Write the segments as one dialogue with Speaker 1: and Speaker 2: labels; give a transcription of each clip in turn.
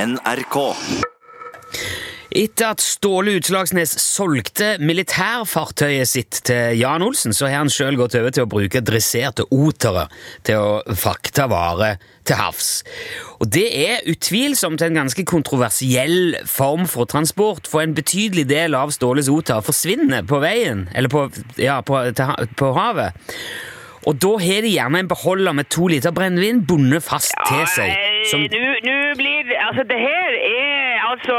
Speaker 1: NRK.
Speaker 2: Etter at Ståle Utslagsnes solgte militærfartøyet sitt til Jan Olsen, så har han sjøl gått over til å bruke dresserte otere til å frakte varer til havs. Og det er utvilsomt en ganske kontroversiell form for transport, for en betydelig del av Ståles oter forsvinner på veien, eller på, ja, på, til, ha- på havet. Og da har de gjerne en beholder med to liter brennevin bundet fast til seg.
Speaker 3: Nei,
Speaker 2: som-
Speaker 3: Nå nå blir det Altså, det her er altså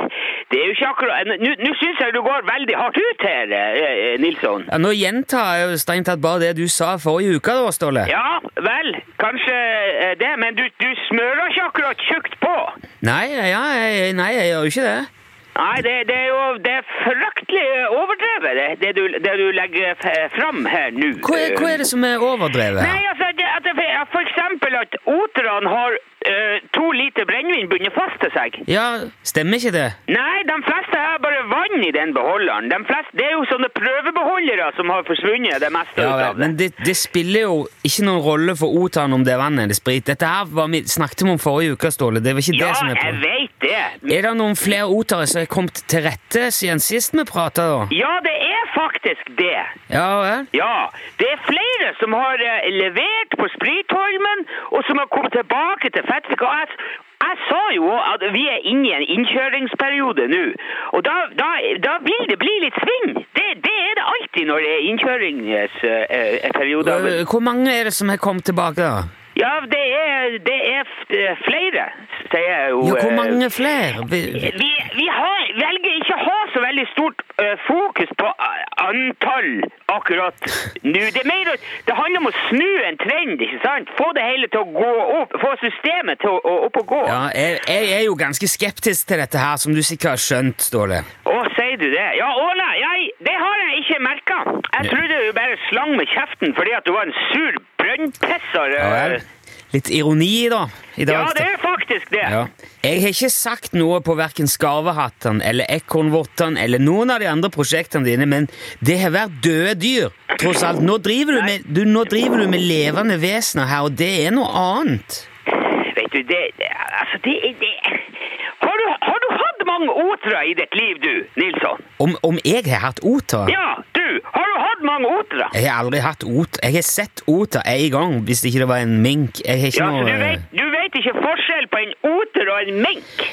Speaker 3: Det er jo ikke akkurat Nå nå syns jeg du går veldig hardt ut her, eh, eh, Nilsson.
Speaker 2: Ja, nå gjentar jeg jo strengt tatt bare det du sa forrige uke, da, Ståle.
Speaker 3: Ja vel, kanskje eh, det, men du, du smører ikke akkurat tjukt på.
Speaker 2: Nei, ja, jeg, nei, jeg gjør jo ikke det.
Speaker 3: Nei, det, det er jo det er fryktelig eh, overdrevet, det, det, du, det du legger f- fram her nå.
Speaker 2: Hva er, hva er det som er overdrevet
Speaker 3: Nei,
Speaker 2: her?
Speaker 3: altså, det, at det, for eksempel at oterne har eh, to liter brennevin bundet fast til seg.
Speaker 2: Ja, stemmer ikke det?
Speaker 3: Nei, de fleste har bare vann i den beholderen. De fleste, det er jo sånne prøvebeholdere som har forsvunnet det meste
Speaker 2: Ja,
Speaker 3: ut
Speaker 2: vel,
Speaker 3: av det.
Speaker 2: men det, det spiller jo ikke noen rolle for Otan om det er vann eller sprit. Dette her var vi snakket vi om forrige uke, Ståle. Det var ikke
Speaker 3: Ja,
Speaker 2: det som er
Speaker 3: jeg
Speaker 2: på.
Speaker 3: vet det.
Speaker 2: Er det noen flere otere som er kommet til rette siden sist vi prata, da?
Speaker 3: Ja, det er faktisk det.
Speaker 2: Ja vel?
Speaker 3: Ja, det er flere som har eh, levert på Spritholmen, og som har kommet tilbake til Fettvik. Og jeg, jeg sa jo at vi er inne i en innkjøringsperiode nå, og da, da, da vil det bli litt sving. Det, det er det alltid når det er innkjøringsperiode.
Speaker 2: Øh, Hvor mange er det som har kommet tilbake, da?
Speaker 3: Ja, det er, det er f- eh, flere, sier jeg jo.
Speaker 2: Ja, hvor
Speaker 3: eh,
Speaker 2: mange flere? Vi-
Speaker 3: vi, vi har, velger ikke å ha så veldig stort eh, fokus på eh, antall akkurat nå. Det, er mer, å- det handler om å snu en trend, ikke sant? Få det hele til å gå opp, få systemet til å, å opp og gå.
Speaker 2: Ja, jeg, jeg er jo ganske skeptisk til dette her, som du sikkert har skjønt, Ståle.
Speaker 3: Å, sier du det? Ja, å nei, nei, det har jeg ikke merka. Jeg trodde du bare slang med kjeften fordi at du var en sur brønnpisser.
Speaker 2: Ja
Speaker 3: eh.
Speaker 2: vel. Litt ironi, da. I dag.
Speaker 3: Ja, det er faktisk det.
Speaker 2: Ja. Jeg har ikke sagt noe på verken Skarvehatten eller Ekornvottene eller noen av de andre prosjektene dine, men det har vært døde dyr, tross alt. Nå driver du med, du, nå driver du med levende vesener her, og det er noe annet.
Speaker 3: Vet du, det, det Altså, det er det. Har du, har du hatt mange otere i ditt liv, du, Nilsson?
Speaker 2: Om, om jeg har hatt oter?
Speaker 3: Ja, du! Har du hatt mange otere?
Speaker 2: Jeg har aldri hatt oter. Jeg har sett oter én gang, hvis ikke det var en mink. Jeg har ikke
Speaker 3: Ja, så du
Speaker 2: noe...
Speaker 3: vet, du vet ikke forskjell på en oter og en mink?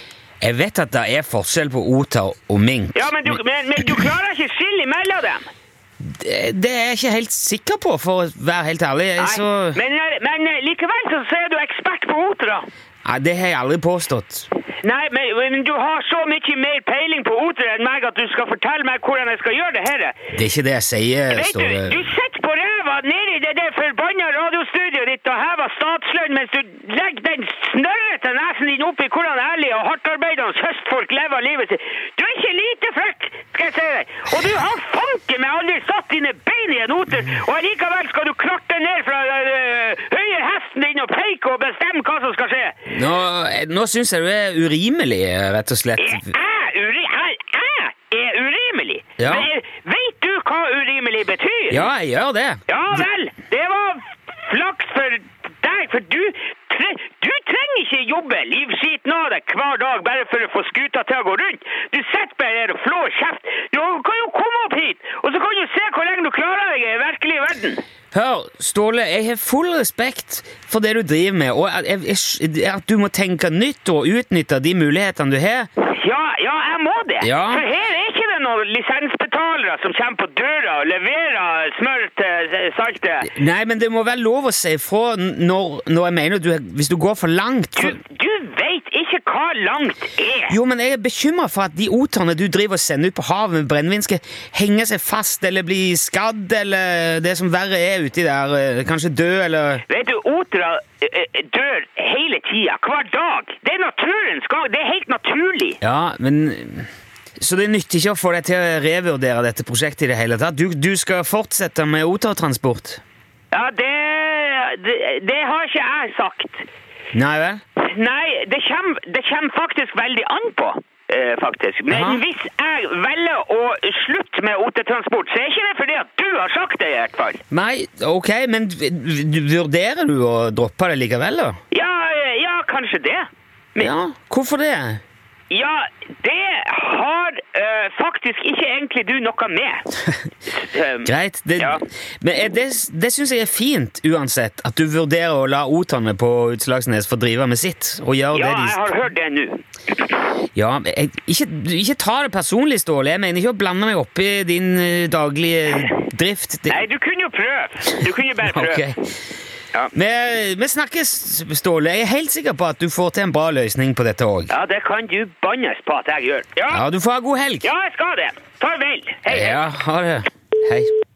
Speaker 2: Jeg vet at det er forskjell på oter og mink.
Speaker 3: Ja, men du, men, men du klarer ikke skille mellom dem?
Speaker 2: Det, det er jeg ikke helt sikker på, for å være helt ærlig. Jeg, så...
Speaker 3: Men, eh, men likevel så er du ekspert på otere.
Speaker 2: Nei, det har jeg aldri påstått.
Speaker 3: Nei, men, men du har så mye mer peiling på otere enn meg at du skal fortelle meg hvordan jeg skal gjøre det her.
Speaker 2: Det er ikke det jeg sier,
Speaker 3: Vet du,
Speaker 2: Ståle.
Speaker 3: du sitter på ræva nede i det der forbanna radiostudioet ditt og hever statslønn mens du legger den snørrete nesen din opp i hvordan ærlige og hardtarbeidende høstfolk lever livet sitt. Du er ikke lite frekk, skal jeg si deg. Og du har fanken meg aldri satt dine bein i en oter, og allikevel skal du kratte ned fra øh, høye hesten din og peke og bestemme hva som skal skje.
Speaker 2: Nå, eh, nå syns jeg du er urimelig, eh, rett og slett.
Speaker 3: Jeg er, uri jeg, jeg er urimelig.
Speaker 2: Ja.
Speaker 3: Men øh, vet du hva urimelig betyr?
Speaker 2: Ja, jeg gjør det.
Speaker 3: Ja vel, det var flaks for deg, for du, tre du trenger ikke jobbe livskiten av deg hver dag bare for å få skuta til å gå rundt. Du sitter bare her og flår kjeft. Du kan jo komme opp hit, og så kan du se hvor lenge du klarer deg i den virkelige verden.
Speaker 2: Hør, Ståle, jeg har full respekt for det du driver med, og at, jeg, jeg, at du må tenke nytt og utnytte de mulighetene du har.
Speaker 3: Ja, ja, jeg må det.
Speaker 2: Ja.
Speaker 3: For her er ikke det noen lisensbetalere som kommer på døra og leverer smør til saltet.
Speaker 2: Nei, men det må være lov å si ifra når, når jeg mener du Hvis du går for langt.
Speaker 3: Du,
Speaker 2: For,
Speaker 3: du veit ikke hva langt er.
Speaker 2: jo, men jeg er bekymra for at de oterne du driver og sender ut på havet med brennevin, skal henge seg fast eller bli skadd eller det som verre er uti der. eh, Kanskje dø eller
Speaker 3: Vet du, otere ø, ø, dør hele tida, hver dag. Det er naturens gang. Det er helt naturlig.
Speaker 2: Ja, men Så det nytter ikke å få deg til å revurdere dette prosjektet i det hele tatt? Du, du skal fortsette med otertransport?
Speaker 3: Ja, det, det, det har ikke jeg sagt.
Speaker 2: Nei vel?
Speaker 3: Nei, det kommer, det kjem faktisk veldig an på. eh, faktisk. Men
Speaker 2: Jaha.
Speaker 3: hvis jeg velger å slutte med otetransport, så er ikke det fordi at du har sagt det, i hvert fall.
Speaker 2: Nei, ok, men v- v- vurderer du å droppe det likevel, da?
Speaker 3: Ja, eh, ja kanskje det.
Speaker 2: Ja, hvorfor det?
Speaker 3: Ja, det har eh, faktisk ikke egentlig du noe med. Um,
Speaker 2: Greit. Det,
Speaker 3: Ja.
Speaker 2: Men er det, det syns jeg er fint uansett, at du vurderer å la oterne på Utslagsnes få drive med sitt. og gjøre
Speaker 3: Ja,
Speaker 2: det de...
Speaker 3: jeg har hørt det nå.
Speaker 2: Ja, men jeg, ikke, du- ikke ta det personlig, Ståle. Jeg mener ikke å blande meg opp i din eh, daglige drift. Det,
Speaker 3: Nei, du kunne jo prøve. Du kunne jo bare prøve.
Speaker 2: Ok.
Speaker 3: Ja.
Speaker 2: Vi, vi snakkes, Ståle. Jeg er helt sikker på at du får til en bra løsning på dette òg.
Speaker 3: Ja, det kan du bannes på at jeg gjør. Ja,
Speaker 2: Ja, du får ha god helg.
Speaker 3: ja jeg skal det. Farvel. Hei.
Speaker 2: Ja, ha det. Hei.